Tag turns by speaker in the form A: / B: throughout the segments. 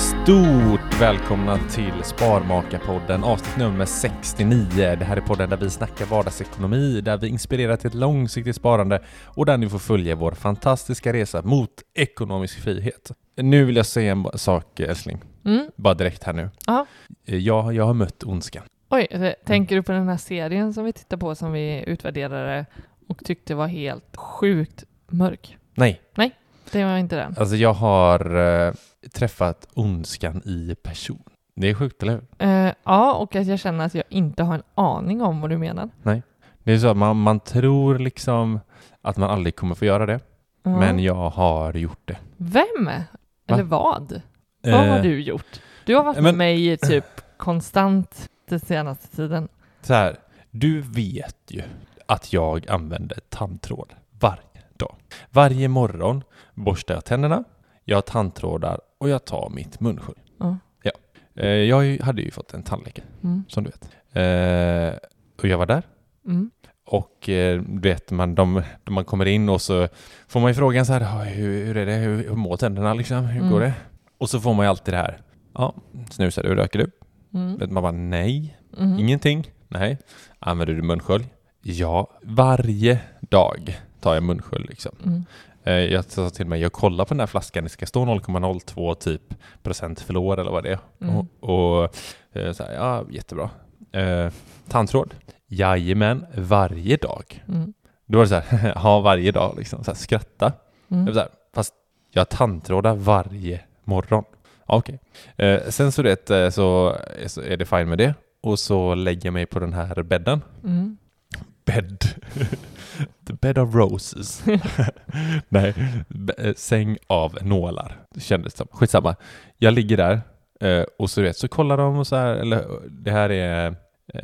A: Stort välkomna till Sparmakarpodden avsnitt nummer 69. Det här är podden där vi snackar vardagsekonomi, där vi inspirerar till ett långsiktigt sparande och där ni får följa vår fantastiska resa mot ekonomisk frihet. Nu vill jag säga en ba- sak älskling,
B: Mm.
A: bara direkt här nu. Eh,
B: Ja.
A: Jag, jag har mött ondskan.
B: Oj, eh, tänker du på den här serien som vi tittar på som vi utvärderade och tyckte var helt sjukt mörk?
A: Nej,
B: Det var inte den.
A: alltså jag har eh, träffat ondskan i person. Det är sjukt, eller hur?
B: Eh, ja, och att jag känner att jag inte har en aning om vad du menar.
A: Det är så att man, man tror liksom att man aldrig kommer få göra det,
B: Ja.
A: men jag har gjort det.
B: Vem? Eller vad? Vad har
A: Eh,
B: du gjort? Du har varit
A: men-
B: med mig i typ konstant den senaste tiden.
A: Så här, du vet ju att jag använder tandtråd varje dag. Varje morgon borstar jag tänderna, jag har tandtrådar och jag tar mitt munskydd.
B: Ja.
A: Ja. Eh, Jag har ju- hade ju fått en tandläkare,
B: Mm.
A: som du vet. Eh, Och jag var där.
B: Mm.
A: Och eh, du vet, man, de, de- man kommer in och så får man ju frågan så här, "Ja, hur, hur är det, hur, hur mår tänderna liksom, hur
B: Mm.
A: går det? Och så får man ju alltid det här, ja, snusar du, röker du?
B: Mm.
A: Man bara, nej.
B: Mm.
A: Ingenting? Nej. Använder du munskölj? Ja, varje dag tar jag munskölj liksom.
B: Mm.
A: Eh, Jag sa till mig, jag kollar på den här flaskan, det ska stå 0,02 typ procent fluor eller vad det är.
B: Mm.
A: Och, och eh, så här, ja, jättebra. Eh, tandtråd? Jajamän, varje dag.
B: Mm.
A: Då var det så här, ha varje dag liksom, så här, skratta. Jag var
B: Mm.
A: Så här, fast jag tandtrådar varje morgon. Ja, Okej. Eh, sen så, vet, eh, så, så är det fine med det. Och så lägger jag mig på den här bädden.
B: Mm.
A: Bädd. The bed of roses. Nej, b- eh, säng av nålar. Det kändes som. Skitsamma. Jag ligger där eh, och så, vet, så kollar de och så här, eller det här är eh,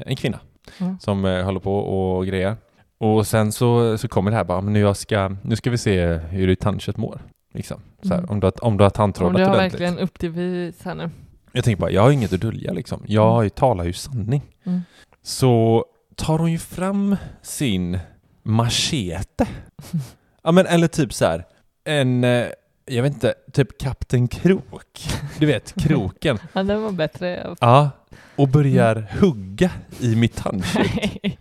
A: en kvinna
B: Mm.
A: som eh, håller på och grejer. Och sen så, så kommer det här bara, men nu, jag ska, nu ska vi se hur ditt tandkött mår. Liksom. Så här,
B: Mm.
A: om, du har, om du har
B: Om
A: tandtrådat
B: du har
A: ordentligt.
B: verkligen upp till bevis här nu.
A: Jag tänker bara, jag har inget att dölja liksom. Jag har ju- talar ju sanning.
B: Mm.
A: Så tar hon ju fram sin machete. ja men eller typ så här, en, eh, jag vet inte, typ Kapten Krok. Du vet, kroken.
B: Ja, den var bättre.
A: ja. Och börjar hugga i mitt tandkött.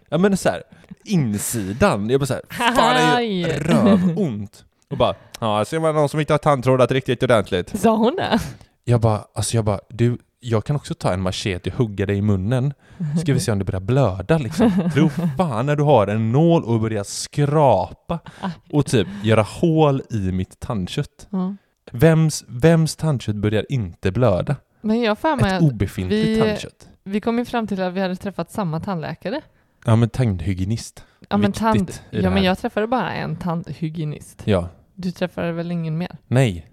A: Ja men så här, insidan. Jag bara så här, fan det gör
B: Aj.
A: rövont. Och bara, ja ser man någon som inte har tandtrådat riktigt ordentligt.
B: Sa hon det?
A: Jag bara, alltså jag bara, du, jag kan också ta en machete och hugga dig i munnen. Ska vi se om du börjar blöda liksom. Tro fan när du har en nål och börjar skrapa och typ göra hål i mitt tandkött.
B: Ja.
A: Vems, vems tandkött börjar inte blöda?
B: Men jag har för mig
A: Ett
B: att
A: obefintligt
B: vi-
A: tandkött.
B: vi kom ju fram till att vi hade träffat samma tandläkare.
A: Ja men tandhygienist.
B: Ja, men
A: Viktigt i
B: tand,
A: det
B: ja,
A: här.
B: men jag träffade bara en tandhygienist.
A: Ja.
B: Du träffade väl ingen mer?
A: Nej.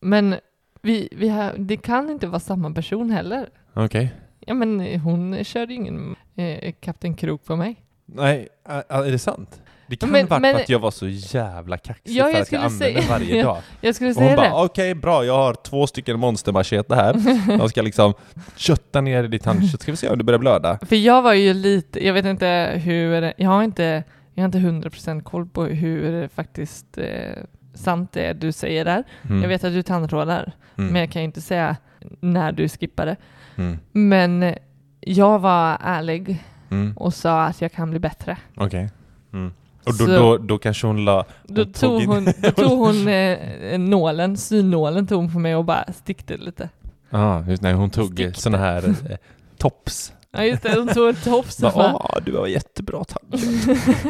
B: Men vi, vi har, det kan inte vara samma person heller.
A: Okej.
B: Ja, men hon körde ju ingen eh, Kapten Krok på mig.
A: Nej, ä- ä- är det sant? Det kan
B: Men-
A: varit
B: men-
A: för att jag var så jävla kaxig
B: Ja,
A: för
B: jag
A: att jag
B: skulle
A: använde
B: säga-
A: varje dag.
B: Jag skulle
A: Och hon
B: säga det.
A: bara okej bra, jag har två stycken monstermachete här. De ska liksom kötta ner i ditt tandkött. Ska vi se om du börjar blöda?
B: För jag var ju lite, jag vet inte hur, jag har inte, jag har inte 100% koll på hur faktiskt eh, sant det är du säger där.
A: Mm.
B: Jag vet att du tandtrådar,
A: Mm.
B: men jag kan ju inte säga när du skippade.
A: Mm.
B: Men jag var ärlig
A: Mm.
B: och sa att jag kan bli bättre.
A: Okej. Mm. Och då,
B: Så-
A: då, då kanske hon la...
B: Då
A: Hon tog
B: tog
A: in-
B: hon, då tog hon eh, nålen, synnålen tog hon på mig och bara stickte lite.
A: Ah, just, nej, hon tog
B: Stickte.
A: sådana här eh, tops.
B: Ja just det, hon tog en tofs och
A: Bara,
B: bara...
A: ah, du har jättebra tandkött.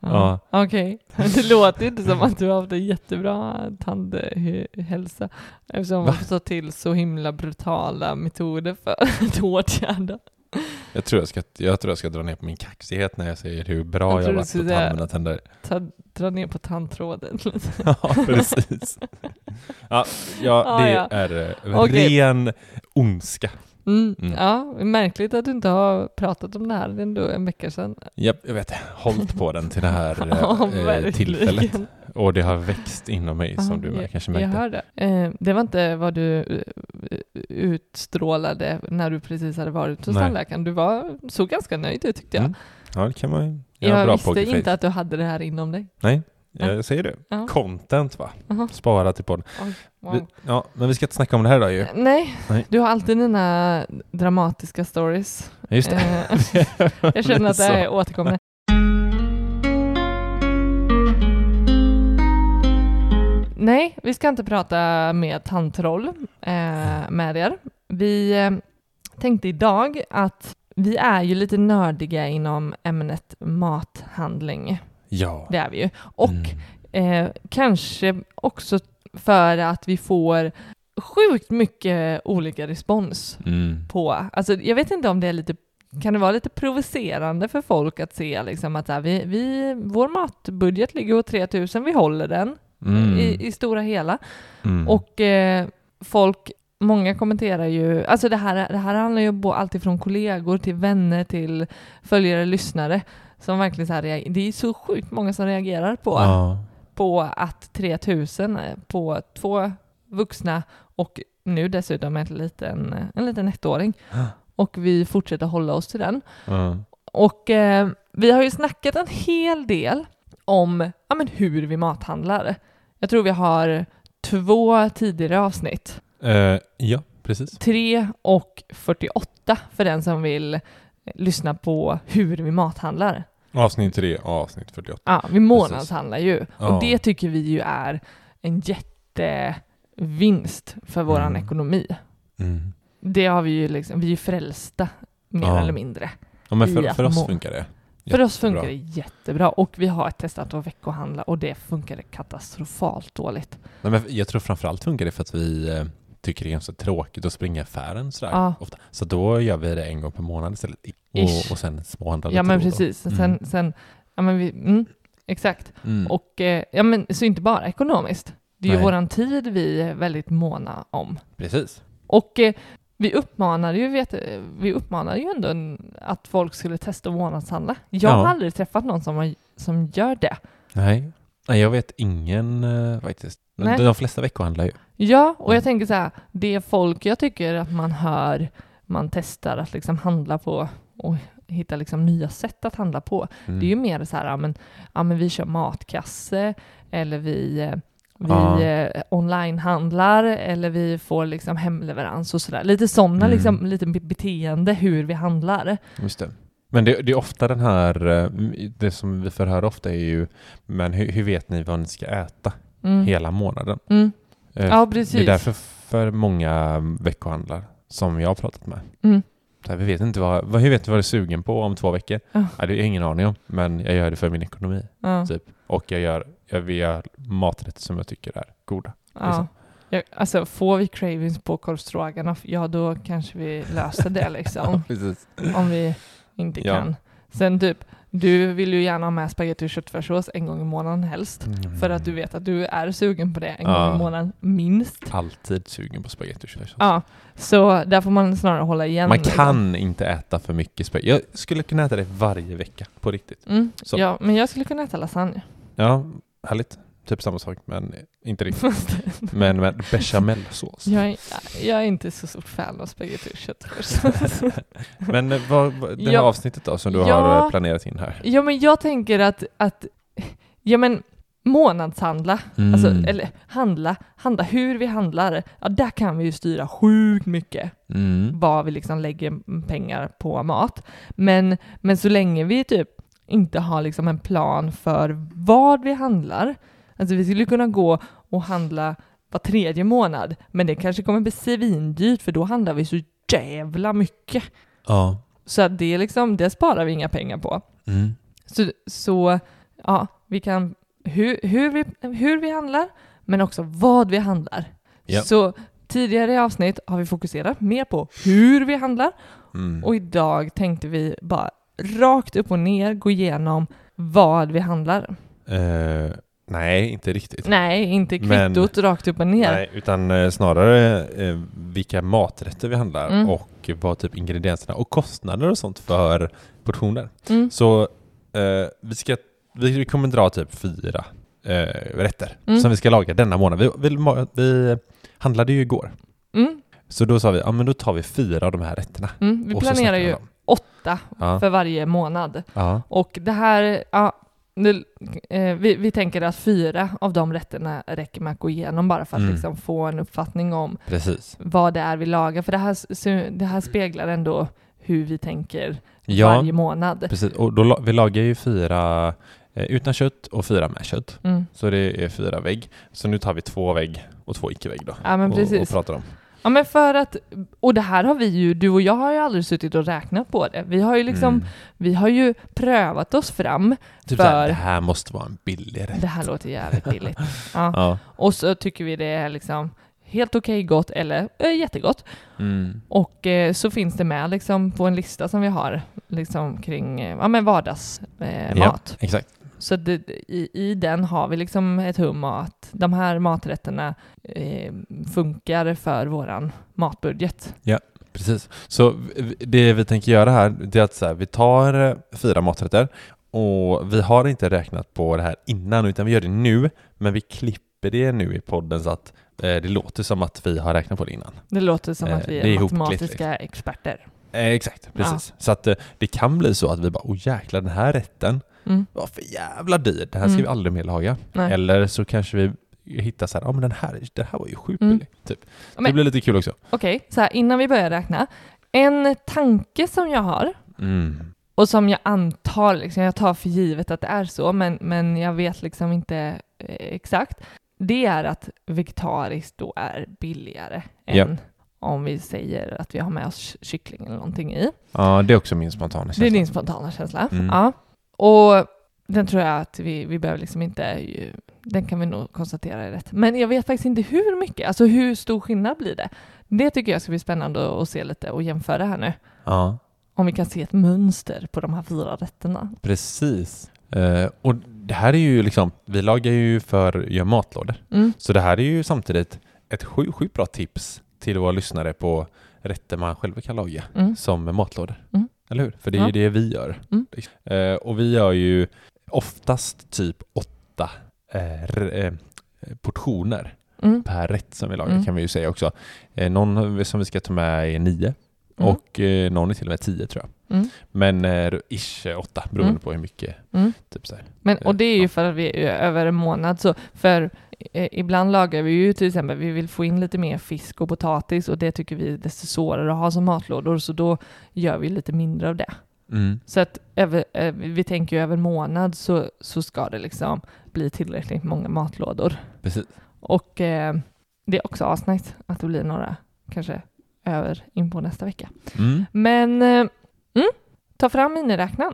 B: Ja, Okej, det låter ju inte som att du har haft en jättebra tandhälsa eftersom
A: Va?
B: man får ta till så himla brutala metoder för att åtgärda.
A: Jag tror jag, ska, jag tror jag ska dra ner på min kaxighet när jag säger hur bra
B: Jag
A: jag,
B: tror
A: har
B: du
A: varit på
B: skulle
A: att
B: säga-
A: använda tänder.
B: Ta, dra ner på tandtråden.
A: ja, precis. Ja, ja,
B: Ah,
A: det
B: ja.
A: är eh,
B: Okej.
A: ren ondska.
B: Mm.
A: Mm.
B: Ja, märkligt att du inte har pratat om det här. Det är ändå en vecka sedan.
A: Japp, jag vet. Hållt på den till det här eh,
B: Ja,
A: eh,
B: verkligen.
A: tillfället. Och det har växt inom mig
B: Ja,
A: som du mär- kanske märkte.
B: Jag hörde. Eh, det var inte vad du eh, utstrålade när du precis hade varit hos
A: Nej.
B: tandläkaren. Du var, såg ganska nöjd ut tyckte jag.
A: Mm. Ja, det kan man ju. Jag har
B: jag
A: bra
B: visste
A: pokerface.
B: inte att du hade det här inom dig.
A: Nej, Jag säger det.
B: Ja.
A: Content va?
B: Aha.
A: Spara till podden.
B: Oj, wow.
A: Vi, ja, men vi ska inte snacka om det här idag ju.
B: Eh, Nej,
A: Nej.
B: du har alltid dina dramatiska stories.
A: Just det.
B: Eh, jag känner att det här är återkommande. Nej, vi ska inte prata med tandtroll eh, med er. Vi eh, tänkte idag att vi är ju lite nördiga inom ämnet mathandling.
A: Ja.
B: Det är vi ju. Och
A: Mm.
B: Eh, kanske också för att vi får sjukt mycket olika respons
A: Mm.
B: på, alltså jag vet inte om det är lite, kan det vara lite provocerande för folk att se liksom att så här, vi, vi, vår matbudget ligger på 3000, vi håller den
A: Mm.
B: i, i stora hela.
A: Mm.
B: Och eh, folk, många kommenterar ju, alltså det här, det här handlar ju om bo- allt ifrån kollegor till vänner till följare, lyssnare som verkligen så här, reagerar. det är så sjukt många som reagerar på
A: Ja.
B: på att 3000 på två vuxna och nu dessutom en liten, eh, en liten ettåring. Och vi fortsätter hålla oss till den.
A: Ja.
B: Och eh, vi har ju snackat en hel del om ja, men hur vi mathandlar. Jag tror vi har två tidigare avsnitt.
A: Eh, ja, precis.
B: 3 och 48 för den som vill eh, lyssna på hur vi mathandlar.
A: Avsnitt 3, avsnitt 48.
B: Ja, vi månadshandlar ju.
A: Ja.
B: Och det tycker vi ju är en jättevinst för vår
A: Mm.
B: ekonomi.
A: Mm.
B: Det har vi ju liksom, vi är ju frälsta mer
A: Ja.
B: eller mindre.
A: Ja, men för,
B: I att
A: för oss
B: må-
A: funkar det.
B: För oss
A: Jättebra.
B: funkar det jättebra och vi har testat att veckohandla och det funkade katastrofalt dåligt.
A: Nej, men jag tror framförallt funkar det för att vi eh, tycker det är ganska tråkigt att springa i affären sådär
B: Ja.
A: ofta. Så då gör vi det en gång per månad istället.
B: Ish.
A: Och, och sen småhandlar
B: Ja
A: lite
B: men
A: då och då.
B: precis,
A: Mm.
B: sen, sen ja men vi, mm, exakt.
A: Mm.
B: Och eh, ja men så inte bara ekonomiskt. Det är ju
A: Nej.
B: våran tid vi är väldigt måna om.
A: Precis.
B: Och eh, vi uppmanade ju, vet, vi uppmanade ju ändå en, att folk skulle testa att månadshandla. Jag har
A: Ja.
B: aldrig träffat någon som, har, som gör det.
A: Nej. Nej, jag vet ingen eh, faktiskt.
B: Nej.
A: De, de flesta veckohandlar ju.
B: Ja, och
A: Mm.
B: jag tänker så här, det folk jag tycker att man hör, man testar att liksom handla på och hitta liksom nya sätt att handla på.
A: Mm.
B: Det är ju mer så här, ja men, ja, men vi kör matkasse eller vi, eh, vi
A: Ja.
B: eh, onlinehandlar eller vi får liksom hemleverans och sådär. Lite sådana
A: Mm.
B: liksom, lite be- beteende hur vi handlar.
A: Just det. Men det, det är ofta den här, eh, det som vi får höra ofta är ju, men hur, hur vet ni vad ni ska äta
B: Mm.
A: hela månaden?
B: Mm.
A: Eh,
B: Ja,
A: Det är
B: precis.
A: därför för många veckohandlar som jag har pratat med.
B: Mm.
A: Så här, vi vet inte vad, vad, hur vet du vad du är sugen på om två veckor?
B: Ja.
A: Ja, det har jag ingen aning om, men jag gör det för min ekonomi.
B: Ja,
A: Typ. Och jag gör, jag vill göra maträtter som jag tycker är goda.
B: ja. Jag, alltså, får vi cravings på korv stroganoff, ja då kanske vi löser det liksom.
A: precis.
B: om vi inte
A: Ja.
B: kan. Sen typ, du vill ju gärna ha med spagetti och köttfärssås en gång i månaden helst. För att du vet att du är sugen på det en
A: Ja.
B: gång i månaden minst.
A: Alltid sugen på spagetti och köttfärssås.
B: Ja, så där får man snarare hålla igen.
A: Man
B: liksom.
A: kan inte äta för mycket spagetti. Jag skulle kunna äta det varje vecka, på riktigt.
B: Mm,
A: Så.
B: ja, men jag skulle kunna äta lasagne.
A: Ja, härligt. Typ samma sak, men inte riktigt. Men med bechamelsås.
B: jag, är, jag är inte så stort fan av spagetti och köttfärssås.
A: Men eh, vad, vad, det här
B: Ja.
A: avsnittet då, som du har
B: Ja.
A: eh, planerat in här?
B: Ja, men jag tänker att, att ja, men månadshandla, alltså,
A: Mm.
B: eller handla, handla, hur vi handlar, ja, där kan vi ju styra sjukt mycket
A: Mm.
B: vad vi liksom lägger pengar på mat. Men, men så länge vi typ inte har liksom en plan för vad vi handlar, alltså vi skulle kunna gå och handla var tredje månad, men det kanske kommer bli svindyrt för då handlar vi så jävla mycket.
A: Ja.
B: Så att det, är liksom, det sparar vi inga pengar på.
A: Mm.
B: Så, så ja, vi kan hur, hur, vi, hur vi handlar, men också vad vi handlar.
A: Ja.
B: Så tidigare i avsnitt har vi fokuserat mer på hur vi handlar
A: Mm.
B: och idag tänkte vi bara rakt upp och ner gå igenom vad vi handlar.
A: Eh, nej, inte riktigt.
B: Nej, inte
A: Men-
B: kvittot rakt upp och ner.
A: Nej, utan eh, snarare eh, vilka maträtter vi handlar
B: Mm.
A: och vad typ ingredienserna och kostnader och sånt för portioner.
B: Mm,
A: Så eh, vi, ska, vi vi kommer dra typ fyra eh, rätter
B: Mm.
A: som vi ska laga denna månad. Vi, vi, ma- vi handlade ju igår,
B: mm,
A: så då sa vi ja men då tar vi fyra av de här rätterna.
B: mm. Vi
A: Och så
B: planerar
A: snackar
B: ju
A: om dem.
B: åtta
A: Ja.
B: för varje månad.
A: Ja.
B: Och det här, ja, det, eh, vi, vi tänker att fyra av de rätterna räcker med att gå igenom bara för att
A: Mm.
B: liksom få en uppfattning om
A: Precis.
B: vad det är vi lagar. För det här, s- det här speglar ändå hur vi tänker
A: Ja,
B: varje månad.
A: precis. Och då, la- vi lagar ju fyra eh, utan kött och fyra med kött.
B: Mm.
A: Så det är fyra vägg. Så nu tar vi två vägg och två icke-vägg då.
B: Ja, men
A: och, och
B: precis.
A: pratar om.
B: Ja, men för att, och det här har vi ju, du och jag har ju aldrig suttit och räknat på det. Vi har ju liksom,
A: Mm.
B: vi har ju prövat oss fram.
A: Typ såhär,
B: för-
A: det här måste vara en billig rätt.
B: Det här låter jävligt billigt. Ja.
A: Ja.
B: Och så tycker vi det är liksom helt okej gott eller eh, jättegott.
A: Mm.
B: Och eh, så finns det med liksom på en lista som vi har liksom kring eh, ja, men vardagsmat. Eh,
A: Ja.
B: mat.
A: Exakt.
B: Så det, i, i den har vi liksom ett hum om att de här maträtterna eh, funkar för våran matbudget.
A: Precis. Så v- det vi tänker göra här, det är att så här, vi tar eh, fyra maträtter och vi har inte räknat på det här innan utan vi gör det nu, men vi klipper det nu i podden så att eh, det låter som att vi har räknat på det innan.
B: Det låter som
A: Eh,
B: att vi
A: det är liksom.
B: är
A: ihopklipp,
B: matematiska experter.
A: Eh, exakt, precis. Så att eh, det kan bli så att vi bara, åh jäklar den här rätten
B: Mm.
A: var för jävla dyr, den här ska
B: Mm.
A: vi aldrig mer laga.
B: Nej.
A: Eller så kanske vi hittar så här, ja men den här, det här var ju sjukt
B: Mm.
A: billig. Typ.
B: Ja,
A: Det
B: men-
A: blir lite kul också.
B: Okej, så här innan vi börjar räkna. En tanke som jag har
A: Mm.
B: och som jag antar, liksom, jag tar för givet att det är så, men, men jag vet liksom inte eh, exakt. Det är att vegetariskt då är billigare
A: Ja.
B: än om vi säger att vi har med oss kyckling eller någonting i.
A: Ja, det är också min spontana känsla.
B: Det är din spontana känsla.
A: Mm.
B: Ja. Och den tror jag att vi, vi behöver liksom inte, eh, den kan vi nog konstatera är rätt. Men jag vet faktiskt inte hur mycket, alltså hur stor skillnad blir det? Det tycker jag ska bli spännande att se lite och jämföra här nu.
A: Ja.
B: Om vi kan se ett mönster på de här fyra rätterna.
A: Precis. Eh, och det här är ju liksom, vi lagar ju för gör matlådor.
B: Mm.
A: Så det här är ju samtidigt ett sjukt sjukt bra tips till våra lyssnare på rätter man själva kan laga
B: Mm.
A: som matlådor.
B: Mm.
A: Eller hur? För det är ju
B: Ja.
A: det vi gör.
B: Mm.
A: Eh, och vi gör ju oftast typ åtta eh, r- eh, portioner
B: Mm.
A: per rätt som vi lagar
B: Mm.
A: kan vi ju säga också. Eh, någon som vi ska ta med är nio
B: Mm.
A: och eh, någon är till och med tio tror jag.
B: Mm.
A: Men eh, ish eh, åtta beroende
B: Mm.
A: på hur mycket
B: Mm.
A: typ så här.
B: Men, och det är ju
A: Ja.
B: för att vi är över en månad så, för eh, ibland lagar vi ju till exempel, vi vill få in lite mer fisk och potatis och det tycker vi är desto svårare att ha som matlådor så då gör vi lite mindre av det.
A: Mm.
B: Så att över, eh, vi tänker ju över en månad så, så ska det liksom bli tillräckligt många matlådor.
A: Precis.
B: Och eh, det är också asnice att det blir några kanske över in på nästa vecka.
A: Mm.
B: Men eh, mm, ta fram miniräknaren.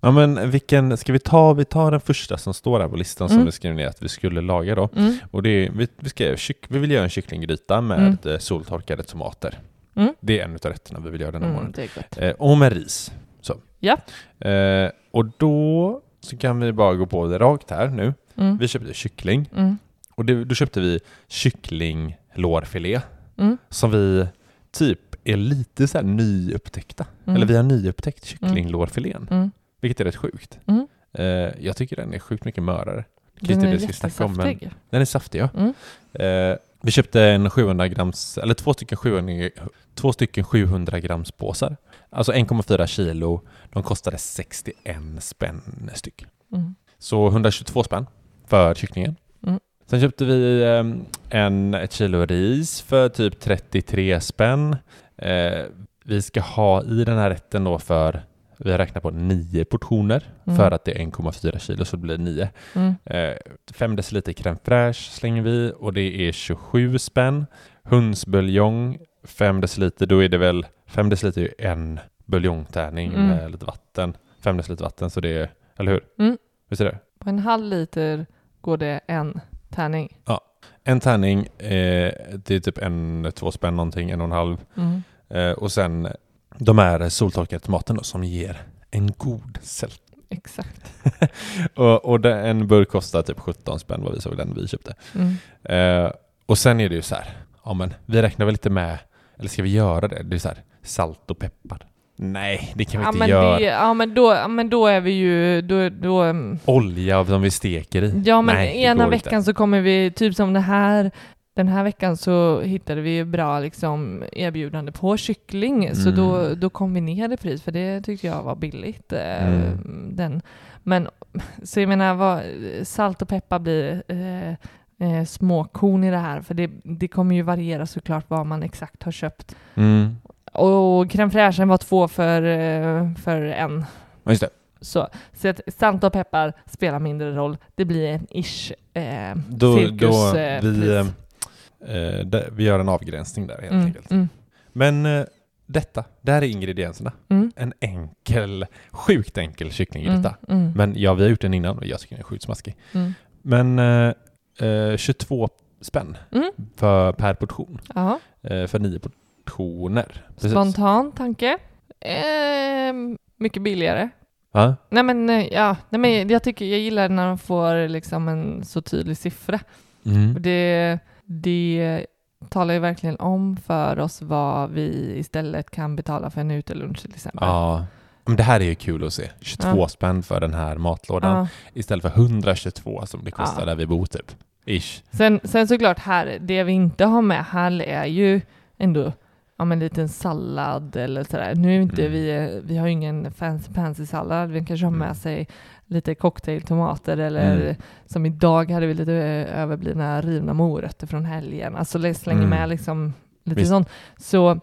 A: Ja men vilken, ska vi ta, vi tar den första som står här på listan som
B: Mm.
A: vi skrev ner att vi skulle laga då.
B: Mm.
A: Och det är, vi, vi, ska, göra kyck- vi vill göra en kycklinggryta med eh, soltorkade tomater.
B: Mm.
A: Det är en av rätterna vi vill göra den här
B: Mm,
A: morgonen.
B: det är gott.
A: Eh, och med ris. Så.
B: Ja.
A: Eh, och då så kan vi bara gå på det rakt här nu.
B: Mm.
A: Vi köpte kyckling
B: Mm.
A: och det, då köpte vi kycklinglårfilé
B: Mm.
A: som vi typ är lite så här nyupptäckta.
B: Mm.
A: Eller vi har nyupptäckt kycklinglårfilén.
B: Mm.
A: Vilket är rätt sjukt.
B: Mm.
A: Eh, jag tycker den är sjukt mycket mörare.
B: Den
A: Christer,
B: är
A: det ska vi snacka om, men-
B: jättesaftig.
A: Den är saftig ja.
B: Mm.
A: Eh, vi köpte en 700 grams, eller två stycken 700, två stycken 700 grams påsar. Alltså 1,4 kilo. De kostade 61 spänn styck.
B: Mm.
A: Så 122 spänn för kycklingen.
B: Mm.
A: Sen köpte vi ehm, en, ett kilo ris för typ 33 spänn. Eh, vi ska ha i den här rätten då för, vi har räknat på nio portioner
B: Mm.
A: för att det är 1,4 kilo så det blir nio.
B: Mm.
A: Eh, 5 deciliter crème fraîche slänger vi och det är 27 spänn. Hönsbuljong 5 deciliter, då är det väl 5 deciliter är ju en buljongtärning
B: Mm.
A: med lite vatten. 5 deciliter vatten så det är, eller hur?
B: Mm.
A: Visst är det?
B: På en halv liter går det en tärning.
A: En tärning, eh, det är typ en, två spänn någonting, en och en halv.
B: Mm.
A: Eh, och sen de här soltorkade tomaterna då, som ger en god sält.
B: Exakt.
A: Och, och den, en burk kostar typ 17 spänn vad vi såg den vi köpte.
B: Mm.
A: Eh, och sen är det ju så här, ja men vi räknar väl lite med, eller ska vi göra det? Det är så här, salt och peppar. Nej, det kan vi
B: Ja,
A: inte
B: men
A: göra.
B: det, ja, men då, ja, men då är vi ju... Då, då, mm.
A: Olja som vi steker i.
B: ja, men
A: Nej, det
B: ena
A: går inte.
B: veckan så kommer vi, typ som det här den här veckan så hittade vi ju bra liksom, erbjudande på kyckling, så
A: Mm.
B: då, då kom vi ner i pris, för det tyckte jag var billigt. eh,
A: Mm.
B: Den. Men, så jag menar, vad, salt och peppar blir eh, eh, småkorn i det här, för det, det kommer ju variera såklart vad man exakt har köpt.
A: Mm.
B: Och crème fraîchen var två för, eh, för en.
A: Ja, just det.
B: Så, så att salt och peppar spelar mindre roll. Det blir en ish eh,
A: Då,
B: cirkus,
A: då
B: eh,
A: vi,
B: pris.
A: eh, där- vi gör en avgränsning där helt
B: Mm,
A: enkelt.
B: mm,
A: Men eh, detta, där är ingredienserna.
B: mm,
A: En enkel, sjukt enkel kycklinggryta.
B: mm, mm,
A: Men ja, vi har gjort den innan och jag tycker den är sjukt smaskig.
B: mm.
A: Men eh, eh, 22 spänn
B: Mm.
A: för, per portion.
B: Ja,
A: Eh, för nio portioner. Precis.
B: spontan tanke. Ehm, mycket billigare.
A: Va?
B: Nej men, eh, ja, nej men jag, tycker, jag gillar när de får liksom en så tydlig siffra. Och
A: Mm.
B: Det, det talar ju verkligen om för oss vad vi istället kan betala för en utelunch till exempel.
A: Ja. Men det här är ju kul att se. 22
B: Ja.
A: spänn för den här matlådan
B: Ja.
A: istället för 122 som det kostar
B: Ja.
A: där vi bor typ. Ish.
B: Sen, sen såklart här, det vi inte har med här är ju ändå ja, men en liten sallad eller sådär. Nu är inte
A: Mm.
B: vi, vi har ju ingen fancy pansy sallad, vi kanske har
A: Mm.
B: med sig lite cocktailtomater eller
A: Mm.
B: som idag hade vi lite eh, överblivna rivna morötter från helgen. Alltså li- slänger
A: Mm.
B: med liksom lite
A: Visst.
B: sånt. Så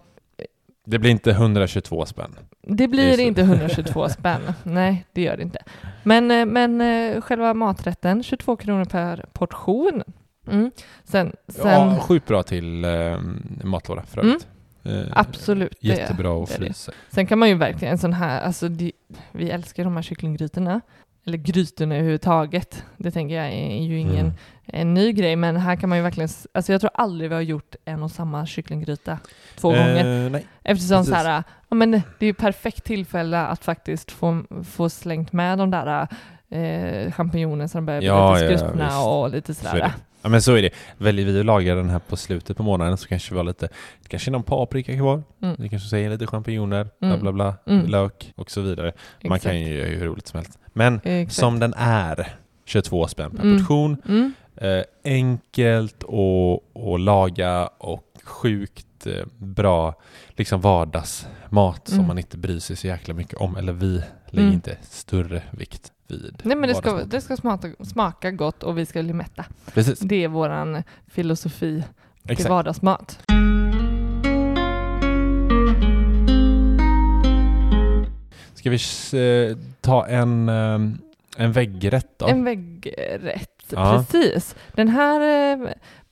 A: Det blir inte 122 spänn.
B: det blir
A: Just det.
B: inte 122 spänn. Nej, det gör det inte. Men, eh, men eh, själva maträtten, 22 kronor per portion. Mm. Sen, sen,
A: Ja, sjukt bra till eh, matlåda för
B: Mm.
A: övrigt. Eh,
B: Absolut. det-
A: Jättebra att
B: det är det.
A: frysa.
B: Sen kan man ju verkligen en sån här, alltså det, vi älskar de här kycklinggrytorna. Eller grytorna överhuvudtaget. Det tänker jag är ju ingen
A: Mm.
B: en ny grej, men här kan man ju verkligen, s- alltså jag tror aldrig vi har gjort en och samma kycklinggryta två gånger.
A: Eh, nej.
B: Eftersom så
A: precis.
B: här, ja, men det är ju perfekt tillfälle att faktiskt få, få slängt med de där eh, champinjonerna som börjar bli
A: Ja,
B: lite
A: ja,
B: skruttna
A: visst.
B: och lite
A: Så är
B: sådär.
A: det. Ja men så är det. Väljer vi att laga den här på slutet på månaden så kanske vi har lite, kanske någon paprika kvar.
B: Mm.
A: Det kanske säger lite champinjoner, bla
B: Mm.
A: bla bla,
B: Mm.
A: lök och så vidare. Man
B: Exakt.
A: kan ju göra hur roligt som helst. Men
B: Exakt.
A: som den är, 22 spänn per
B: Mm.
A: portion.
B: Mm.
A: Eh, enkelt och, och laga och sjukt eh, bra liksom vardagsmat som
B: Mm.
A: man inte bryr sig så jäkla mycket om. Eller vi lägger
B: Mm.
A: inte större vikt vid
B: Nej men det ska,
A: vardagsmat.
B: det ska smaka, smaka gott och vi ska bli mätta.
A: Precis,
B: Det är våran filosofi till
A: exakt.
B: vardagsmat.
A: Ska vi s- eh, ta en, ehm, en väggrätt då?
B: En väggrätt,
A: Ja.
B: precis. Den här eh,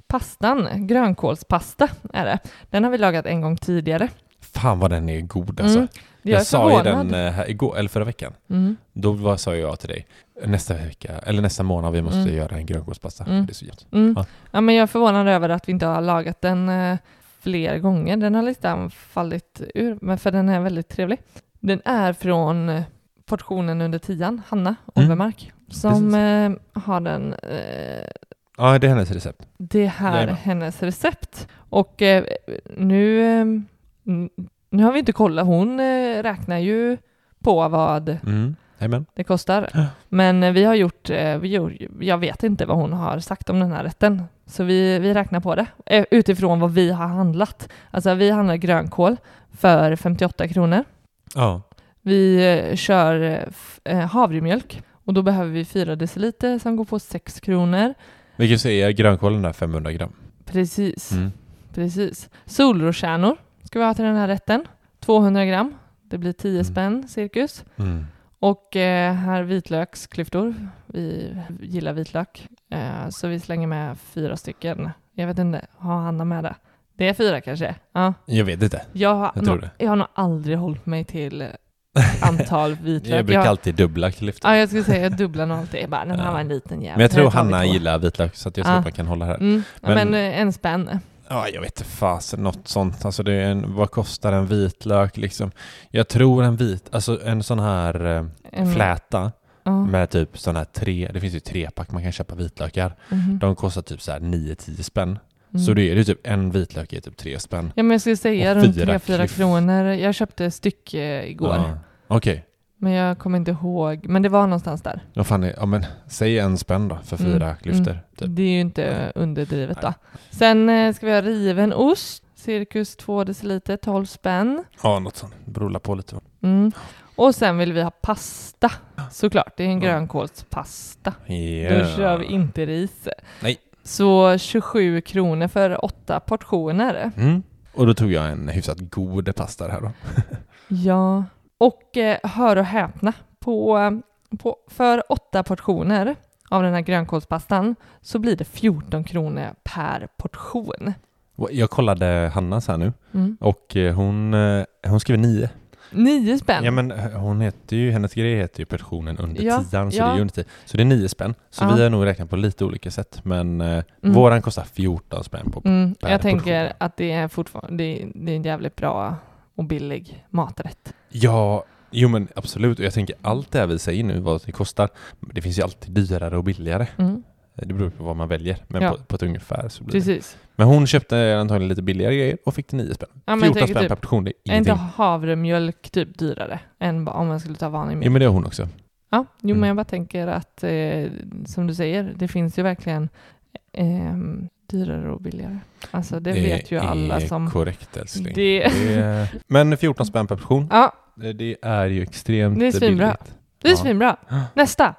B: pastan, grönkålspasta är det. Den har vi lagat en gång tidigare.
A: Fan vad den är god alltså.
B: Mm, Jag,
A: jag
B: är
A: sa ju
B: förvånad.
A: den eh, här igår, eller förra veckan.
B: Mm,
A: Då var, sa jag till dig, nästa vecka, eller nästa månad, vi måste
B: Mm.
A: göra en grönkålspasta.
B: Mm.
A: Det är så gott.
B: mm.
A: Ja.
B: Ja. men jag är förvånad över att vi inte har lagat den eh, fler gånger. Den har liksom fallit ur, men för den är väldigt trevlig. Den är från eh, portionen under tian, Hanna
A: Mm.
B: Overmark, som eh, har den eh,
A: Ja, det är hennes recept.
B: det här
A: Jajamän.
B: hennes recept. Och eh, nu, eh, n- nu har vi inte kollat, hon eh, räknar ju på vad
A: Mm. Jajamän.
B: det kostar.
A: Ja.
B: Men eh, vi har gjort, eh, vi gjorde, jag vet inte vad hon har sagt om den här rätten. Så vi, vi räknar på det eh, utifrån vad vi har handlat. Alltså vi handlar grönkål för 58 kronor.
A: Ja.
B: Vi eh, kör eh, f- eh, havremjölk och då behöver vi 4 deciliter som går på 6 kronor.
A: Vi kan säga grönkålen där 500 gram. Mm.
B: Precis. Precis. Solroskärnor ska vi ha till den här rätten. 200 gram. Det blir 10
A: Mm.
B: spänn cirkus.
A: Mm.
B: Och eh, här vitlöksklyftor. Vi gillar vitlök. Eh, så vi slänger med fyra stycken. Jag vet inte, har Hanna med det? Det är fyra kanske? Ja.
A: Jag vet inte.
B: Jag har,
A: Jag tror
B: nog,
A: det.
B: jag har nog aldrig hållit mig till antal vitlök.
A: Jag brukar
B: jag,
A: alltid dubbla klyftor.
B: ja, jag skulle säga jag dubblar nog alltid. Jag bara, den här
A: Ja.
B: var en liten jävel.
A: Men jag tror
B: Den tar vi
A: Hanna
B: två.
A: gillar vitlök så att jag tror
B: Ja.
A: att man kan hålla här.
B: Mm. Ja,
A: Men-
B: men, eh, en spänn.
A: Ja, jag vet inte fasen, något sånt. Alltså det är en, vad kostar en vitlök liksom? Jag tror en vit, alltså en sån här eh,
B: En-
A: fläta
B: Ja.
A: med typ sån här tre, det finns ju trepack man kan köpa vitlökar.
B: Mhm.
A: De kostar typ så här 9-10 spänn.
B: Mm.
A: Så det är ju typ en vitlök är typ tre spänn.
B: Ja men jag skulle säga
A: Och
B: runt
A: fyra
B: 3-4
A: klyft-
B: kronor. Jag köpte stycke igår.
A: Ja. Okej,
B: Men jag kommer inte ihåg. Men det var någonstans där.
A: Ja, fan, ja, men, säg en spänn då för
B: Mm,
A: fyra klyftor.
B: mm.
A: Typ.
B: Det är ju inte underdrivet då. Sen eh, ska vi ha riven ost, cirkus 2 deciliter, 12 spänn.
A: Ja, något sånt. Det beror på lite. va.
B: Mm. Och sen vill vi ha pasta, såklart. Det är en
A: Ja.
B: grönkålspasta.
A: Yeah.
B: Då kör vi inte ris.
A: Nej.
B: Så 27 kronor för åtta portioner.
A: Mm. Och då tog jag en hyfsat god pasta här då.
B: Ja. Och eh, hör och häpna, på, eh, på, för åtta portioner av den här grönkålspastan så blir det 14 kronor per portion.
A: Och Jag kollade Hannas här nu
B: Mm.
A: och eh, hon, eh, hon skrev nio.
B: Nio spänn.
A: Ja men eh, hon heter ju, hennes grej heter ju pensionen under
B: Ja,
A: tian, så
B: ja.
A: det är ju under tio. Så det är nio spänn. Så
B: Ja.
A: vi har nog räknat på lite olika sätt. Men eh,
B: Mm.
A: våran kostar 14 spänn på
B: Mm,
A: per
B: jag tänker
A: portion.
B: att det är fortfarande det är, det är en jävligt bra och billig maträtt.
A: Ja, jo men absolut. Och jag tänker allt det här vi säger nu, vad det kostar, det finns ju alltid dyrare och billigare.
B: Mm,
A: Det beror på vad man väljer, men
B: Ja.
A: på, på ett ungefär så blir det.
B: precis.
A: Men hon köpte antagligen lite billigare grejer och fick 9 spänn.
B: Ja, men jag
A: 14
B: tänker
A: spänn
B: typ,
A: per portion, det är
B: är inte
A: ingenting.
B: havremjölk typ dyrare än ba- om man skulle ta vanlig
A: Jo
B: mjölk?
A: men det är hon också.
B: Ja, jo
A: Mm.
B: men jag bara tänker att eh, som du säger, det finns ju verkligen ehm, dyrare och billigare. Alltså det vet ju alla
A: är
B: som...
A: korrekt älskling.
B: Det,
A: Det är- Men 14 spänn per portion,
B: ja,
A: Det- Det är ju extremt
B: Det är svinbra.
A: billigt.
B: det är
A: Ja.
B: svinbra. Nästa!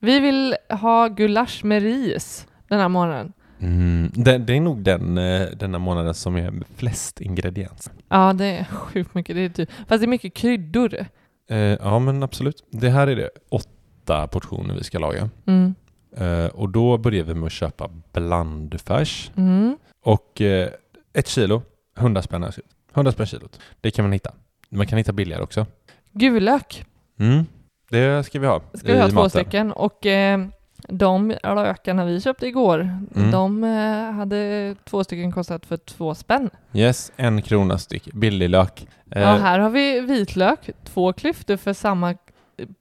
B: Vi vill ha gulasch med ris den här morgonen.
A: Mm. Det, det är nog den eh, denna månaden som är flest ingredienser.
B: Ja, det är sjukt mycket. Det är typ, fast det är mycket kryddor.
A: Eh, ja, men absolut. Det här är det åtta portioner vi ska laga.
B: Mm.
A: Eh, och då börjar vi med att köpa blandfärs.
B: Mm.
A: Och eh, ett kilo, 100 spänn. är det. 100 spänn kilot. Det kan man hitta. Man kan hitta billigare också.
B: Gulök
A: Mm. Det ska vi ha
B: ska vi ha
A: i
B: två
A: maten.
B: stycken. Och eh, de lökarna vi köpte igår,
A: Mm.
B: de eh, hade två stycken kostat för två spänn.
A: Yes, en krona styck. Billig lök. Eh,
B: Ja, här har vi vitlök, två klyftor för samma, eh,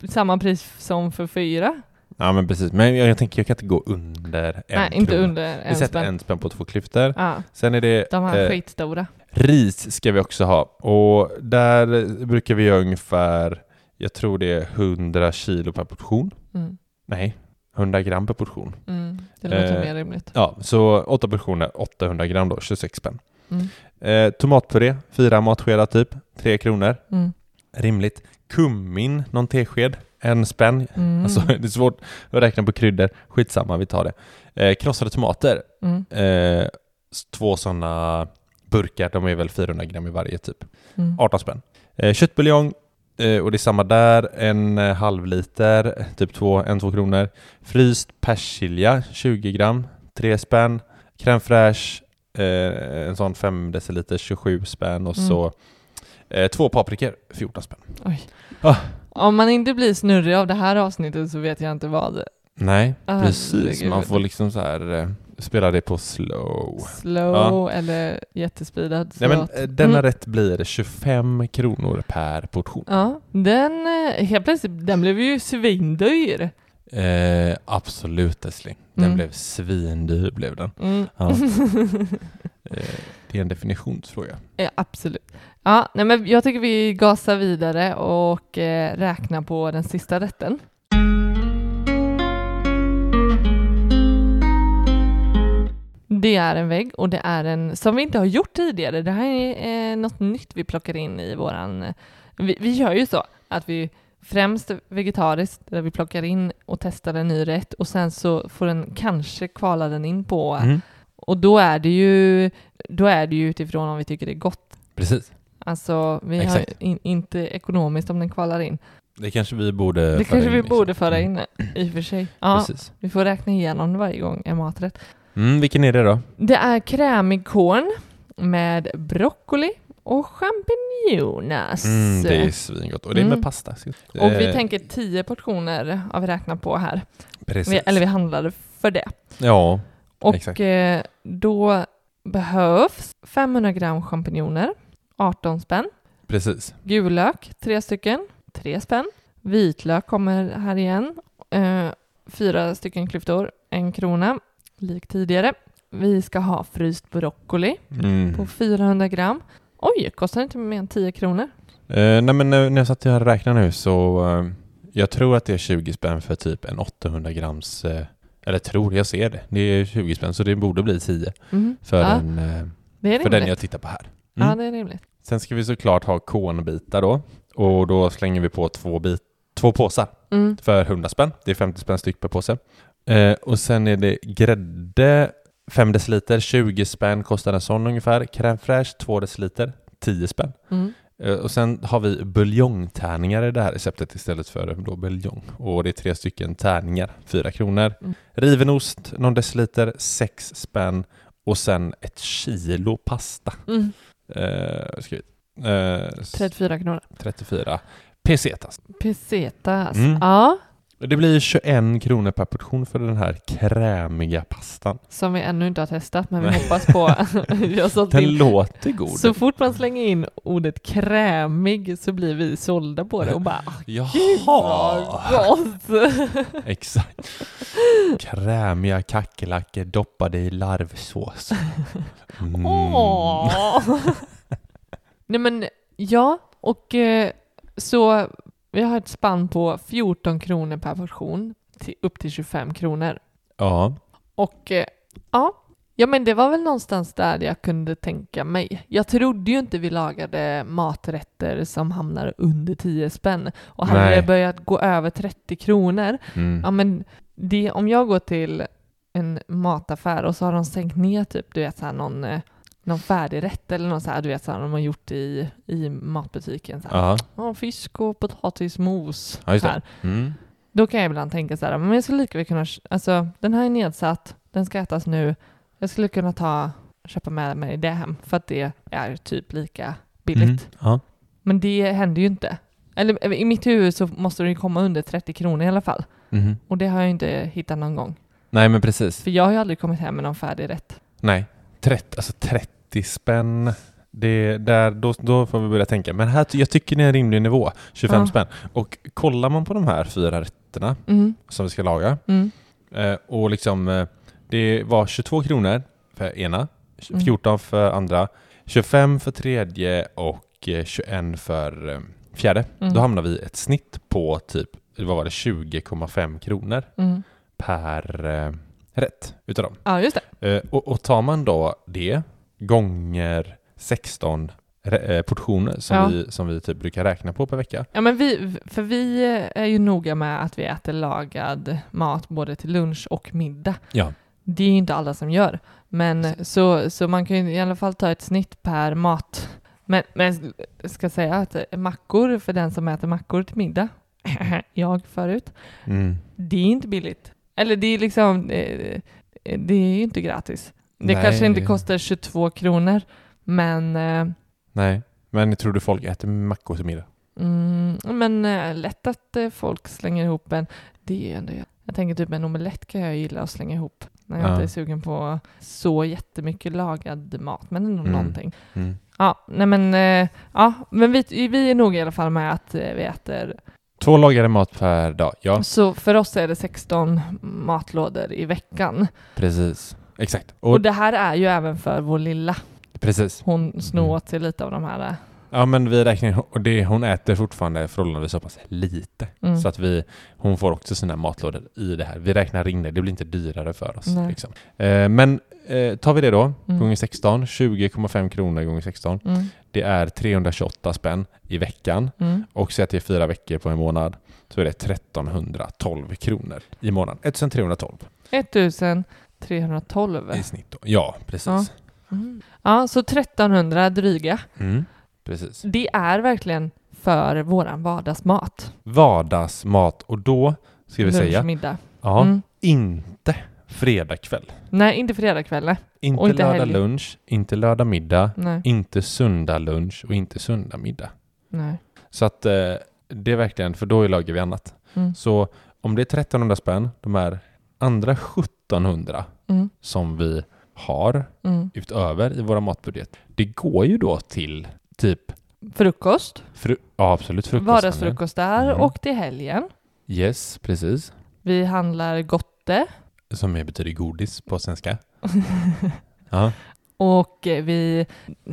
B: samma pris som för fyra.
A: ja, men precis. Men jag, jag tänker jag kan inte gå under en krona.
B: Nej, inte under
A: Vi
B: en
A: sätter
B: spänn.
A: en spänn på två klyftor.
B: Ja,
A: Sen är det
B: de här
A: eh,
B: skitstora.
A: ris ska vi också ha. Och där brukar vi göra ungefär, jag tror det är 100 kilo per portion.
B: Mm.
A: Nej, 100 gram per portion.
B: Mm. Det låter
A: eh,
B: mer rimligt.
A: Ja, så åtta portioner, 800 gram då, 26 spänn.
B: Mm.
A: Eh, tomatpuré, fyra matskedar typ, tre kronor.
B: Mm.
A: Rimligt. Kummin, någon tesked, en spänn.
B: Mm.
A: Alltså det är svårt att räkna på kryddor, skitsamma, vi tar det. Eh, krossade tomater,
B: mm.
A: eh, s- två sådana burkar, de är väl 400 gram i varje typ.
B: Mm.
A: 18 spänn. Eh, köttbuljong, eh, och det är samma där, en eh, halv liter, typ två, en, två kronor. Fryst persilja, 20 gram, 3 spänn. Crème fraîche, eh, en sån 5 deciliter, 27 spänn. Och
B: Mm.
A: så eh, två paprikor, 14 spänn.
B: Oj.
A: Ah.
B: Om man inte blir snurrig av det här avsnittet så vet jag inte vad.
A: Nej,
B: Ah,
A: precis.
B: herregud.
A: Man får liksom så här eh, spela det på slow.
B: Slow eller jättespeedad.
A: Oh. Nej men
B: slot.
A: eh, denna
B: Mm.
A: rätt blir 25 kronor per portion.
B: Ja, den eh, helt plötsligt, den blev ju svindyr.
A: Eh, absolut älskling. Den
B: Mm.
A: blev svindyr blev den.
B: Mm.
A: Ja. Eh, det är en definitionsfråga.
B: Ja, absolut. Ja, nej, men jag tycker vi gasar vidare och eh, räknar på den sista rätten. Det är en vägg och det är en som vi inte har gjort tidigare. Det här är eh, något nytt vi plockar in i våran... eh, Vi, vi gör ju så att vi främst vegetariskt där vi plockar in och testar en ny rätt och sen så får den kanske kvala den in på
A: Mm.
B: och då är det ju, då är det ju utifrån om vi tycker det är gott.
A: Precis.
B: Alltså vi
A: Exakt.
B: har in, inte ekonomiskt om den kvalar in.
A: Det kanske vi borde
B: Det
A: föra
B: kanske
A: in,
B: vi
A: liksom.
B: borde föra
A: Mm.
B: in i och för sig. Ja,
A: Precis.
B: vi får räkna igenom det varje gång en maträtt.
A: Mm, vilken är det då?
B: Det är krämig korn med broccoli och champinjoner.
A: Mm, det är svingott. Och det är med
B: Mm.
A: pasta.
B: Och vi
A: Eh,
B: tänker tio portioner har vi räknat på här.
A: Precis.
B: Vi, eller vi handlade för det.
A: Ja, Exakt.
B: Och eh, då behövs 500 gram champinjoner, 18 spänn.
A: precis.
B: Gulök, tre stycken, tre spänn. Vitlök kommer här igen. Eh, fyra stycken klyftor, en krona, lik tidigare. Vi ska ha fryst broccoli
A: Mm.
B: på 400 gram. Oj, kostar inte mer än 10 kronor.
A: Eh, nej men när när jag satt här och räknade nu så eh, jag tror att det är 20 spänn för typ en 800 grams, eh, eller tror, jag ser det. Det är 20 spänn så det borde bli 10
B: Mm.
A: för,
B: ja,
A: den, eh,
B: det är
A: för den
B: rimligt.
A: jag tittar på här.
B: Ja,
A: Mm.
B: det är rimligt.
A: Sen ska vi såklart ha kornbitar då och då slänger vi på två, bit, två påsar
B: Mm.
A: för 100 spänn. Det är 50 spänn styck per påse. Eh, och sen är det grädde 5 deciliter, 20 spänn kostar en sån ungefär. Crème fraîche 2 deciliter, 10 spänn.
B: Mm.
A: Eh, Och sen har vi buljongtärningar i det här receptet istället för då buljong. Och det är tre stycken tärningar, fyra kronor.
B: Mm.
A: Riven ost, någon deciliter, sex spänn. Och sen ett kilo pasta.
B: Mm.
A: Eh, skrivit. Eh, s-
B: 34 kronor.
A: 34 pesetas.
B: Pesetas.
A: Mm.
B: Ja,
A: Det blir 21 kronor per portion för den här krämiga pastan.
B: som vi ännu inte har testat, men vi
A: Nej.
B: hoppas på. vi har sålt
A: Den
B: in.
A: låter god.
B: Så fort man slänger in ordet krämig så blir vi sålda på det och bara "Ah,
A: Jaha!
B: gott!
A: Exakt. Krämiga kackerlackor doppade i larvsås. Mm.
B: Åh! Nej men ja, och eh, så vi har ett spann på 14 kronor per portion till, upp till 25 kronor.
A: Ja.
B: Och eh, ja, ja men det var väl någonstans där jag kunde tänka mig. Jag trodde ju inte vi lagade maträtter som hamnar under 10 spänn. Och hade
A: Nej.
B: det börjat gå över 30 kronor
A: Mm.
B: Ja men det, om jag går till en mataffär och så har de sänkt ner typ, du vet så här någon, eh, någon färdigrätt eller någon så här, du vet så här de har gjort i, i matbutiken så här.
A: Ja.
B: Ja, fisk och potatismos.
A: Ja, just det.
B: här.
A: Mm.
B: Då kan jag ibland tänka så här, men jag skulle lika väl kunna, alltså den här är nedsatt, den ska ätas nu, jag skulle kunna ta, köpa med mig det hem för att det är typ lika billigt.
A: Mm. Ja.
B: Men det händer ju inte. Eller i mitt huvud så måste det ju komma under 30 kronor i alla fall.
A: Mhm.
B: Och det har jag ju inte hittat någon gång.
A: Nej, men precis.
B: För jag har ju aldrig kommit hem med någon färdig rätt.
A: Nej. 30, alltså 30 spänn. Det där, då, då får vi börja tänka. Men här, jag tycker det är en rimlig nivå. 25
B: Ja.
A: spänn. Och kollar man på de här fyra rätterna
B: Mm,
A: som vi ska laga
B: mm,
A: eh, och liksom eh, det var 22 kronor för ena,
B: Mm.
A: 14 för andra, 25 för tredje och eh, 21 för eh, fjärde.
B: mm,
A: Då hamnar vi i ett snitt på typ, vad var det, 20,5 kronor.
B: mm.
A: per eh, rätt utav dem.
B: Ja, just det.
A: Eh, och, och tar man då det gånger 16 re- eh, portioner som,
B: Ja.
A: vi, som vi typ brukar räkna på per vecka.
B: Ja, men vi, för vi är ju noga med att vi äter lagad mat både till lunch och middag.
A: Ja.
B: Det är ju inte alla som gör. Men så, så man kan ju i alla fall ta ett snitt per mat. Men, men jag ska säga att mackor, för den som äter mackor till middag, jag förut,
A: Mm.
B: det är inte billigt. Eller det är liksom, eh, det är ju inte gratis. Det
A: Nej,
B: kanske inte
A: det-
B: kostar 22 kronor, men, eh,
A: Nej, men tror du folk äter mackor till middag?
B: mm, men eh, lätt att eh, folk slänger ihop en. Det är ändå, jag tänker typ en omelett kan jag gilla att slänga ihop när jag
A: Ja.
B: inte är sugen på så jättemycket lagad mat, men ändå
A: Mm.
B: någonting.
A: Mm.
B: Ja, nej men, eh, ja, men vi, vi är noga i alla fall med att eh, vi äter.
A: Två lagade mat per dag, ja
B: Så för oss är det 16 matlådor i veckan.
A: precis. Exakt, och,
B: Och det här är ju även för vår lilla.
A: precis.
B: Hon snor
A: Mm.
B: åt sig lite av de här. eh,
A: Ja men vi räknar, och det, hon äter fortfarande förhållandevis så pass lite.
B: eh, Mm.
A: Så att vi, hon får också sina matlådor i det här. Vi räknar in det, det blir inte dyrare för oss.
B: Nej.
A: Liksom. Eh, men eh, tar vi det då,
B: Mm.
A: gånger 16, 20,5 kronor gånger 16.
B: Mm.
A: Det är 328 spänn i veckan
B: Mm.
A: och säg att det är fyra veckor på en månad så är det 1312 kronor i månaden. 1312
B: 1312.
A: i snitt då. Ja, precis.
B: Mm. Ja, så 1300 dryga.
A: Mm. Precis.
B: Det är verkligen för våran vardagsmat.
A: Vardagsmat och då ska vi
B: Lunch och
A: säga,
B: middag.
A: ja,
B: Mm.
A: inte fredag kväll.
B: Nej, inte fredagkväll. nej.
A: Inte,
B: Och inte
A: lördag
B: helg.
A: lunch, inte lördag middag,
B: Nej,
A: inte söndag lunch och inte söndag middag.
B: nej.
A: Så att eh, det är verkligen, för då lagar vi annat.
B: Mm.
A: Så om det är 1300 spänn, de här andra 1700
B: Mm.
A: som vi har
B: Mm.
A: utöver i våra matbudget, det går ju då till typ,
B: Frukost,
A: fru- ja absolut frukost.
B: vardagsfrukost där
A: Mm.
B: och till helgen.
A: Yes, precis.
B: Vi handlar gotte.
A: Som betyder godis på svenska. Ja.
B: Och eh, vi,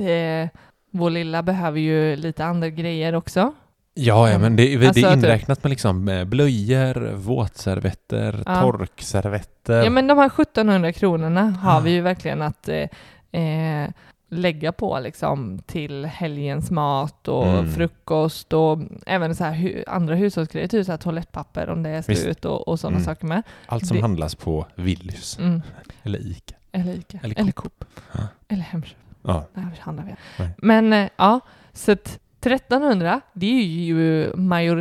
B: eh, vår lilla behöver ju lite andra grejer också.
A: Ja, ja, men det, det
B: Alltså,
A: är
B: typ-
A: inräknat med liksom eh, blöjor, våtservetter,
B: Ja.
A: torkservetter.
B: Ja men de här 1700 kronorna har
A: Eh. Ah.
B: vi ju verkligen att eh, eh, lägga på liksom till helgens mat och
A: Mm.
B: frukost och även så här hu- andra hushållsgrejer, typ så här toalettpapper om det är
A: Visst.
B: slut och, och sådana
A: Mm.
B: saker med.
A: Allt som
B: det-
A: handlas på Willys
B: Mm.
A: eller Ica.
B: Eller Ica,
A: Eller
B: eller,
A: Coop. Ah.
B: Coop,
A: Ja.
B: eller Hemköp.
A: Ja,
B: Nej, vi handlar vi.
A: Nej.
B: Men eh, ja, så att 1300, det är ju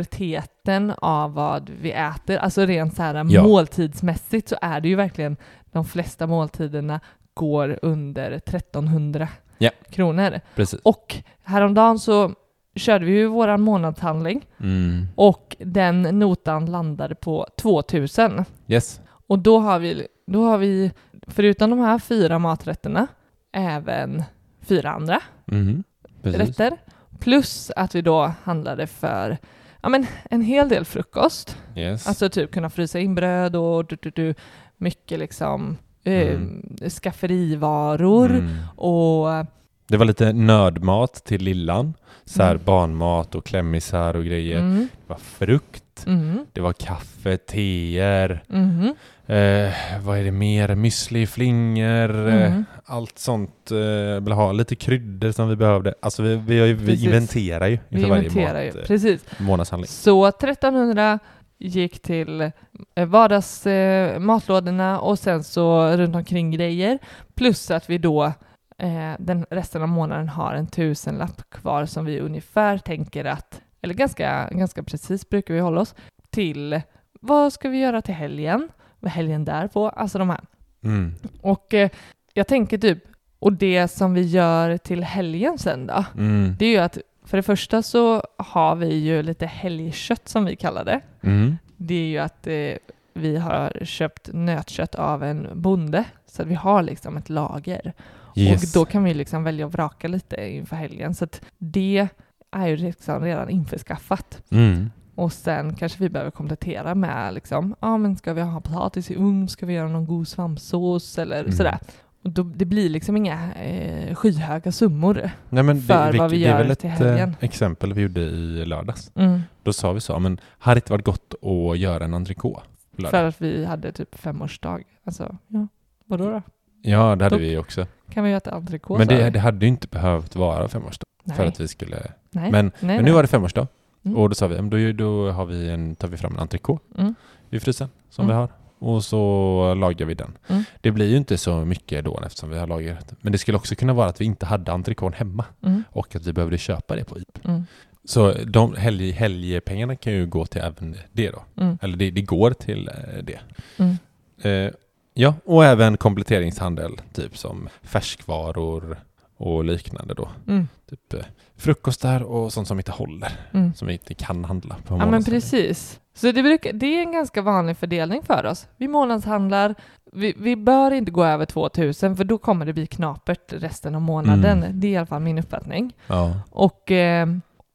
B: majoriteten av vad vi äter. Alltså rent så här
A: Ja.
B: måltidsmässigt så är det ju verkligen de flesta måltiderna går under 1300
A: Ja.
B: kronor.
A: precis.
B: Och häromdagen så körde vi ju våran månadshandling
A: Mm.
B: och den notan landade på 2000.
A: Yes.
B: Och då har vi, då har vi förutom de här fyra maträtterna, även fyra andra
A: Mm. Precis.
B: rätter. Plus att vi då handlade för ja, men en hel del frukost.
A: Yes.
B: Alltså typ kunna frysa in bröd och du, du, du, mycket liksom eh,
A: Mm.
B: skafferivaror.
A: Mm.
B: Och
A: Det var lite nördmat till lillan. Så här
B: Mm.
A: barnmat och klämmisar och grejer.
B: mm,
A: Det var frukt,
B: mm,
A: det var kaffe, teer,
B: mm,
A: eh, vad är det mer? Müsli, flingor, eh,
B: mm.
A: allt sånt. Eh, blaha, lite kryddor som vi behövde. Alltså vi, vi, har ju- vi
B: Precis.
A: inventerar ju
B: Vi
A: inför varje
B: inventerar
A: mat,
B: ju,
A: eh,
B: precis.
A: månadshandling.
B: Så 1300 gick till eh, vardags eh, matlådorna och sen så runt omkring grejer. Plus att vi då eh, den resten av månaden har en tusenlapp kvar som vi ungefär tänker att, eller ganska, ganska precis brukar vi hålla oss, till vad ska vi göra till helgen? Vad är helgen därpå? Alltså de här.
A: Mm.
B: Och eh, jag tänker typ, och det som vi gör till helgen sen då?
A: Mm.
B: Det är ju att för det första så har vi ju lite helgkött som vi kallar det.
A: Mm.
B: Det är ju att eh, vi har köpt nötkött av en bonde så att vi har liksom ett lager.
A: Yes.
B: Och då kan vi liksom välja att vraka lite inför helgen. Så att det är ju liksom redan införskaffat.
A: Mm.
B: Och sen kanske vi behöver komplettera med liksom, ja men ska vi ha potatis i ugn, ska vi göra någon god svampsås eller
A: Mm.
B: sådär. Och då, det blir liksom inga eh, skyhöga summor.
A: Nej, men
B: för vad
A: vilket-
B: vi
A: det är
B: gör
A: väl ett
B: till
A: eh,
B: helgen.
A: exempel vi gjorde i lördags.
B: Mm.
A: Då sa vi så, men hade det inte varit gott att göra en entrecote? på lördag?
B: För att vi hade typ femårsdag. Alltså, ja. Vadå då?
A: Ja, det hade
B: Då-
A: vi också.
B: Kan vi göra ett entrecote?
A: Men
B: sa vi?
A: det, det hade ju inte behövt vara femårsdag
B: nej,
A: för att vi skulle...
B: nej,
A: men-
B: nej,
A: Men nu
B: nej.
A: var det femårsdag
B: Mm.
A: och då sa vi, "Men då, då har vi en, tar vi fram en entrecote
B: Mm.
A: i frysen som
B: Mm.
A: vi har och så lagar vi den.
B: Mm.
A: Det blir ju inte så mycket då eftersom vi har lagrat. Men det skulle också kunna vara att vi inte hade entrecote hemma
B: Mm,
A: och att vi behövde köpa det på IP.
B: mm,
A: Så de helg, helgpengarna kan ju gå till även det då.
B: mm,
A: Eller det, det går till eh, det.
B: mm.
A: Eh, ja, och även kompletteringshandel, typ som färskvaror och liknande då.
B: Mm,
A: Typ eh, frukostar och sånt som inte håller,
B: mm.
A: som vi inte kan handla på
B: Ja men
A: månadshandel.
B: precis. Så det, brukar, det är en ganska vanlig fördelning för oss. Vi månadshandlar, vi, vi bör inte gå över 2000 för då kommer det bli knapert resten av månaden.
A: Mm.
B: Det är i alla fall min uppfattning.
A: Ja,
B: Och, eh,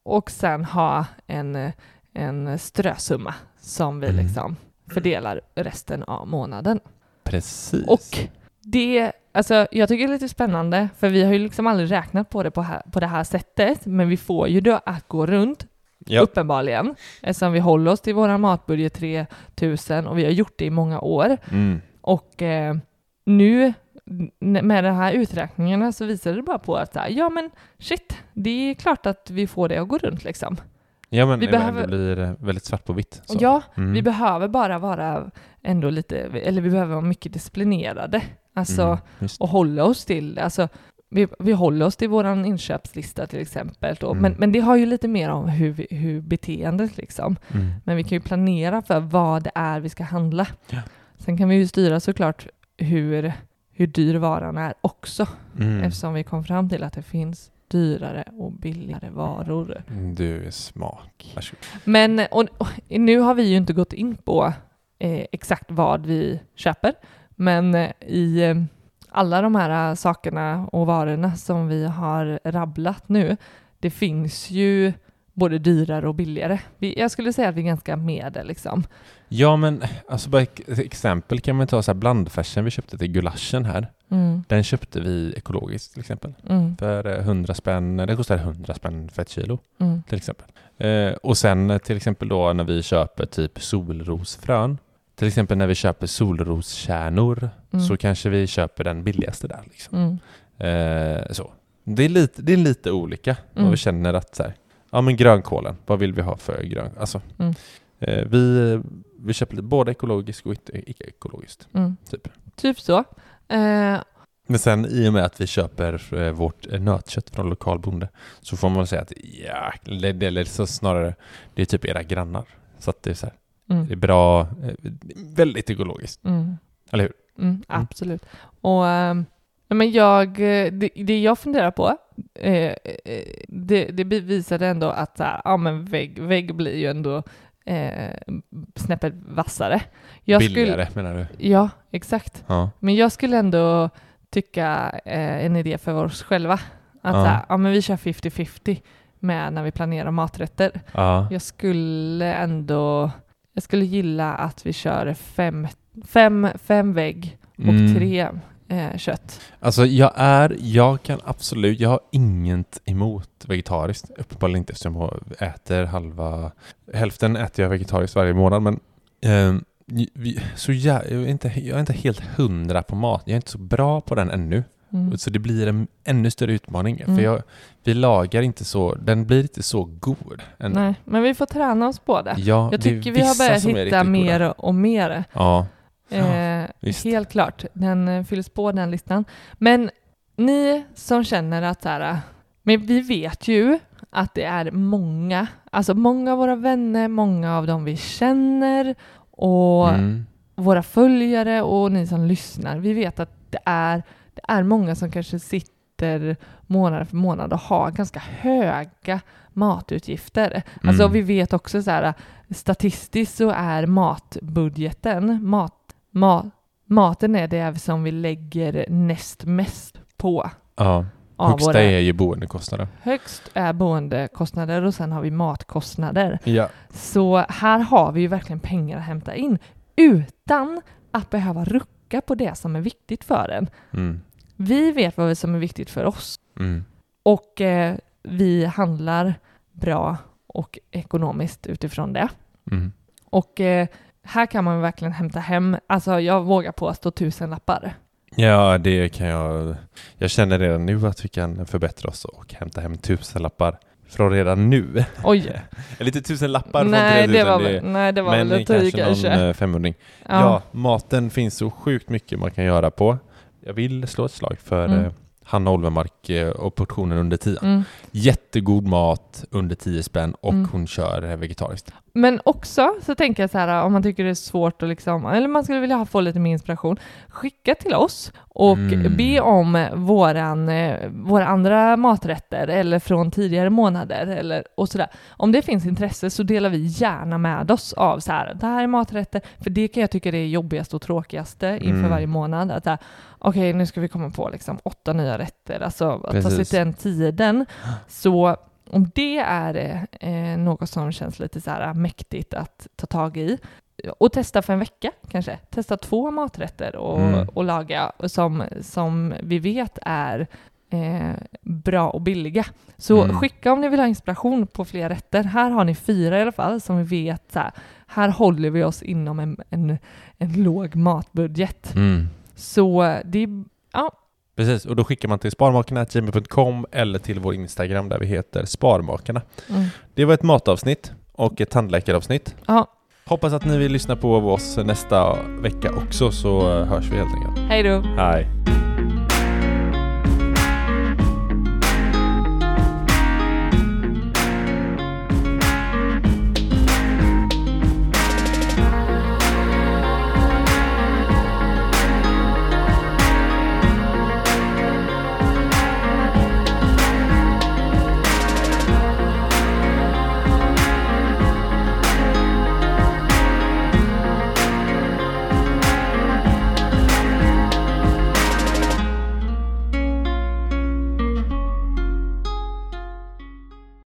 B: och sen ha en, eh, en strösumma som vi
A: Mm.
B: liksom fördelar resten av månaden.
A: precis.
B: Och det, alltså jag tycker det är lite spännande, för vi har ju liksom aldrig räknat på det på, här, på det här sättet, men vi får ju det att gå runt,
A: ja,
B: uppenbarligen, eftersom vi håller oss till vår matbudget 3000 och vi har gjort det i många år.
A: mm,
B: Och eh, nu n- med de här uträkningarna så visar det bara på att så här, ja men shit, det är klart att vi får det att gå runt liksom.
A: ja men
B: vi
A: det- men
B: behöver-
A: det blir eh, väldigt svart på vitt. Så.
B: Ja,
A: Mm.
B: vi behöver bara vara ändå lite, eller vi behöver vara mycket disciplinerade. Alltså,
A: Mm, just.
B: och hålla oss till det. Alltså, vi, vi håller oss till vår inköpslista till exempel. Då.
A: Mm.
B: Men, men det har ju lite mer om hur, vi, hur beteendet liksom.
A: Mm.
B: Men vi kan ju planera för vad det är vi ska handla.
A: Ja.
B: Sen kan vi ju styra såklart hur, hur dyr varan är också.
A: Mm.
B: Eftersom vi kom fram till att det finns dyrare och billigare varor.
A: Mm, Du är smart. Varsågod.
B: Men och, och, nu har vi ju inte gått in på eh, exakt vad vi köper, men eh, i eh, alla de här eh, sakerna och varorna som vi har rabblat nu, det finns ju både dyrare och billigare. Vi, jag skulle säga att vi är ganska med det liksom.
A: Ja men, alltså bara ex- exempel kan man ta så här blandfärsen vi köpte till gulaschen här.
B: Mm.
A: Den köpte vi ekologiskt till exempel.
B: Mm.
A: För eh, 100 spänn, det kostar 100 spänn för ett kilo
B: Mm.
A: till exempel. Eh, och sen eh, till exempel då när vi köper typ solrosfrön. Till exempel när vi köper solroskärnor
B: Mm.
A: så kanske vi köper den billigaste där. Liksom.
B: Mm.
A: Eh, så. Det, är lite, det är lite olika vad
B: Mm.
A: vi känner att så här, ja men grönkålen, vad vill vi ha för grön? Alltså,
B: Mm.
A: eh, vi, vi köper lite både ekologiskt och inte- icke-ekologiskt.
B: Mm.
A: Typ.
B: Typ så. Eh,
A: Men sen i och med att vi köper eh, vårt eh, nötkött från lokal bonde så får man väl säga att ja, eller, eller så snarare det är typ era grannar. Så att det är så här, det är
B: mm.
A: bra, eh, väldigt ekologiskt.
B: Mm.
A: Eller hur?
B: Mm, absolut. Och ehm, nej, men jag, eh, det, det jag funderar på, eh, eh, det, det bevisade ändå att så här, ja, men vägg, vägg blir ju ändå eh, snäppet vassare. Jag skulle-
A: Billigare menar du?
B: ja, exakt.
A: Ja.
B: Men jag skulle ändå tycka eh, en idé för oss själva. Att
A: Ja.
B: så här, ja, men vi kör 50-50 med när vi planerar maträtter.
A: ja.
B: Jag skulle ändå, jag skulle gilla att vi kör fem, fem, fem vägg och
A: Mm.
B: tre eh, kött.
A: Alltså jag är, jag kan absolut, jag har inget emot vegetariskt. Uppenbarligen inte eftersom jag äter halva, hälften äter jag vegetariskt varje månad men ehm, vi, så jag, jag, är inte, jag är inte helt hundra på mat. Jag är inte så bra på den ännu.
B: Mm.
A: Så det blir en ännu större utmaning.
B: Mm.
A: För jag, vi lagar inte så, den blir inte så god. Än.
B: Nej, men vi får träna oss på det.
A: Ja, det är
B: Jag tycker vi har
A: vissa
B: börjat
A: som är riktigt
B: hitta
A: goda.
B: mer och mer.
A: Ja.
B: Eh,
A: visst.
B: helt klart, den eh, fylls på den listan. Men ni som känner att så här, men vi vet ju att det är många, alltså många av våra vänner, många av dem vi känner och
A: Mm.
B: våra följare och ni som lyssnar, vi vet att det är, det är många som kanske sitter månad för månad och har ganska höga matutgifter. Alltså
A: Mm.
B: vi vet också så här, statistiskt så är matbudgeten, mat, mat, maten är det som vi lägger näst mest på.
A: ja.
B: Av
A: Högsta
B: våra,
A: är ju boendekostnaden.
B: Högst är boendekostnader och sen har vi matkostnader.
A: Ja.
B: Så här har vi ju verkligen pengar att hämta in utan att behöva rucka på det som är viktigt för en.
A: Mm.
B: Vi vet vad som är viktigt för oss
A: Mm.
B: och eh, vi handlar bra och ekonomiskt utifrån det.
A: Mm.
B: Och eh, här kan man verkligen hämta hem, alltså jag vågar påstå tusen lappar.
A: Ja, det kan jag. Jag känner redan nu att vi kan förbättra oss och hämta hem tusenlappar från redan nu.
B: Oj!
A: Eller Lite tusenlappar
B: nej,
A: från 3000.
B: det var,
A: det-
B: väl- nej, det var
A: men
B: väl att ta i
A: kanske någon
B: kanske.
A: eh, femhundring. Ja.
B: Ja.
A: maten finns så sjukt mycket man kan göra på. Jag vill slå ett slag för
B: Mm.
A: eh, Hanna Olvenmark eh, och portionen under 10.
B: Mm.
A: Jättegod mat under 10 spänn och
B: Mm.
A: hon kör eh, vegetariskt.
B: Men också så tänker jag så här om man tycker det är svårt att liksom, eller man skulle vilja ha- få lite mer inspiration, skicka till oss och
A: Mm.
B: be om våran, eh, våra andra maträtter eller från tidigare månader eller och sådär. Om det finns intresse så delar vi gärna med oss av så här, det här är maträtter, för det kan jag tycka det är jobbigast och tråkigaste inför
A: Mm.
B: varje månad. Att så här, okej nu ska vi komma på liksom åtta nya rätter, alltså att ta sig
A: Precis.
B: till den tiden. Så om det är eh, något som känns lite så här mäktigt att ta tag i och testa för en vecka kanske, testa två maträtter och,
A: Mm.
B: och laga som, som vi vet är eh, bra och billiga. Så
A: Mm.
B: skicka om ni vill ha inspiration på fler rätter. Här har ni fyra i alla fall som vi vet, så här, här håller vi oss inom en, en, en låg matbudget. Så det är
A: Precis, och då skickar man till sparmakarna.gmail.com eller till vår Instagram där vi heter Sparmakarna.
B: mm,
A: Det var ett matavsnitt och ett tandläkaravsnitt.
B: ja.
A: Hoppas att ni vill lyssna på oss nästa vecka också så eh, hörs vi helt enkelt.
B: Hej då!
A: Hej!